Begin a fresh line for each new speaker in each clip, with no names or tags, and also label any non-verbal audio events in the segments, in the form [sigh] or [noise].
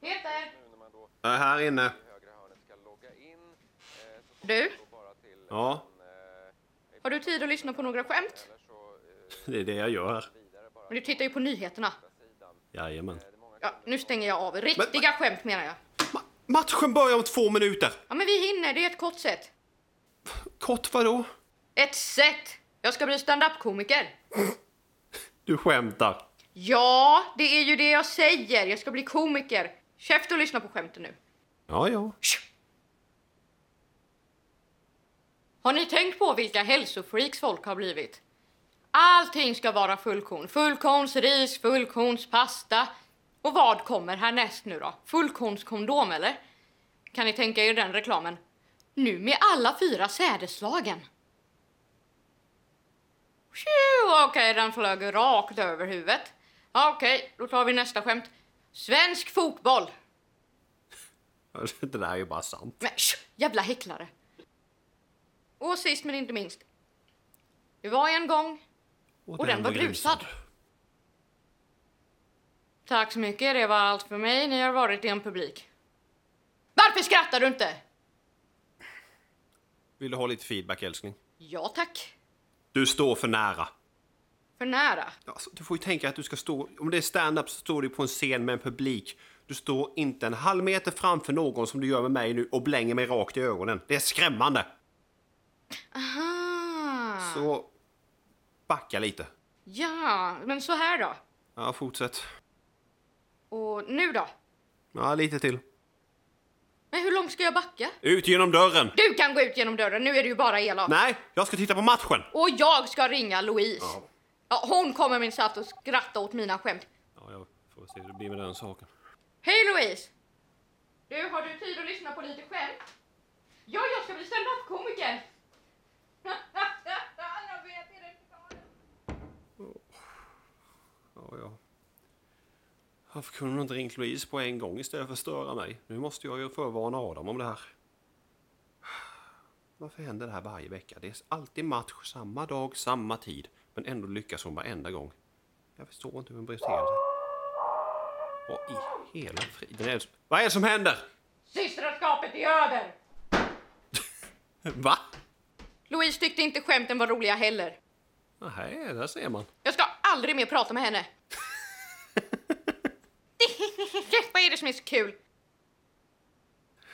Peter.
Jag är Äh, här inne.
Du,
Ja,
har du tid att lyssna på några skämt?
det är det jag gör.
Men du tittar ju på nyheterna.
Jajamän.
Ja, nu stänger jag av. Riktiga skämt menar jag.
Ma- matchen börjar om två minuter.
Ja, men vi hinner. Det är ett kort sätt.
Kort vadå?
Ett sätt! Jag ska bli stand-up-komiker.
Du skämtar.
Ja, det är ju det jag säger. Jag ska bli komiker. Käft och lyssna på skämten nu.
Ja, ja.
Har ni tänkt på vilka hälsofreaks folk har blivit? Allting ska vara fullkorn. Fullkornsris, fullkornspasta. Och vad kommer härnäst nu då? Fullkornskondom eller? Kan ni tänka er den reklamen? Nu med alla fyra sädeslagen. Tju, Okej, den flög rakt över huvudet. Ja, Okej, då tar vi nästa skämt. Svensk fotboll.
[laughs] Det där är ju bara sant.
Men tsch, jävla häcklare. Och sist men inte minst. Det var en gång och den var grusad. Tack så mycket, det var allt för mig. Ni har varit i en publik. Varför skrattar du inte?
Vill du ha lite feedback, älskling?
Ja tack.
Du står för nära.
För nära.
Alltså, du får ju tänka att du ska stå... Om det är stand-up så står du på en scen med en publik. Du står inte en halv meter framför någon som du gör med mig nu och blänger mig rakt i ögonen. Det är skrämmande.
Aha.
Så backa lite.
Ja, men så här då.
Ja, fortsätt.
Och nu då?
Ja, lite till.
Men hur långt ska jag backa?
Ut genom dörren!
Du kan gå ut genom dörren, nu är du ju bara elak.
Nej, jag ska titta på matchen!
Och jag ska ringa Louise. Ja. hon kommer min satt och skratta åt mina skämt.
Ja, jag får se hur det blir med den saken.
Hej Louise! Du, har du tid att lyssna på lite skämt? Ja, jag ska bli standup-komiker! [laughs] Jag vet inte vad det-
Ja, ja. Varför kunde hon inte ringt Louise på en gång istället för att störa mig? Nu måste jag ju förvarna Adam om det här. Varför händer det här varje vecka? Det är alltid match, samma dag, samma tid. Men ändå lyckas hon varenda gång. Jag förstår inte hur hon bryter sig. Vad i hela friden är det som... Vad är det som händer?
Systraskapet är över!
Va?
Louise tyckte inte skämten var roliga heller.
Nej, där ser man.
Jag ska aldrig mer prata med [laughs] henne. vad är det som är så kul?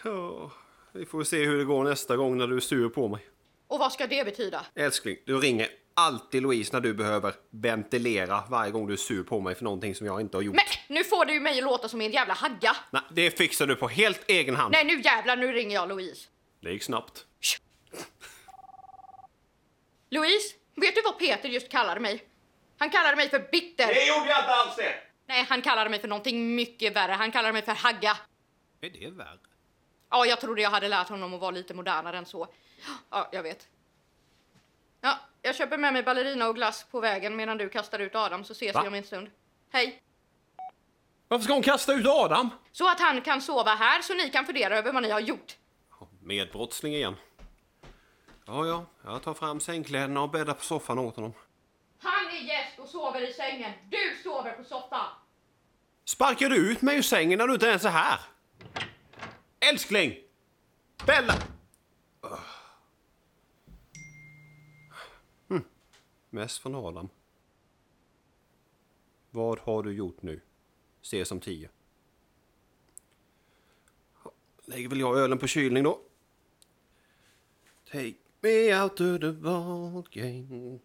Ja, vi får se hur det går nästa gång när du är sur på mig.
Och vad ska det betyda?
Älskling, du ringer alltid Louise när du behöver ventilera varje gång du är sur på mig för någonting som jag inte har gjort.
Men nu får du ju mig att låta som en jävla hagga.
Nej, det fixar du på helt egen hand.
Nej, nu jävlar, nu ringer jag Louise.
Det gick snabbt.
Louise, vet du vad Peter just kallade mig? Han kallade mig för bitter.
gjorde jag inte alls det!
Nej, han kallade mig för någonting mycket värre. Han kallade mig för Hagga.
Är det värre?
Ja, jag trodde jag hade lärt honom att vara lite modernare än så. Ja, jag vet. Ja, jag köper med mig ballerina och glass på vägen medan du kastar ut Adam så ses
Va?
vi om en stund. Hej.
Varför ska hon kasta ut Adam?
Så att han kan sova här så ni kan fundera över vad ni har gjort.
Medbrottsling igen. Ja, ja, jag tar fram sängkläderna och bäddar på soffan åt honom.
Han är gäst och sover i sängen. Du sover på soffan.
Sparkar du ut mig ur sängen när du inte ens är här? Älskling! Bella! Ugh. Hm. Mest från Adam. Vad har du gjort nu? Ses om tio. Lägger väl jag ölen på kylning då. Take me out to the ball game.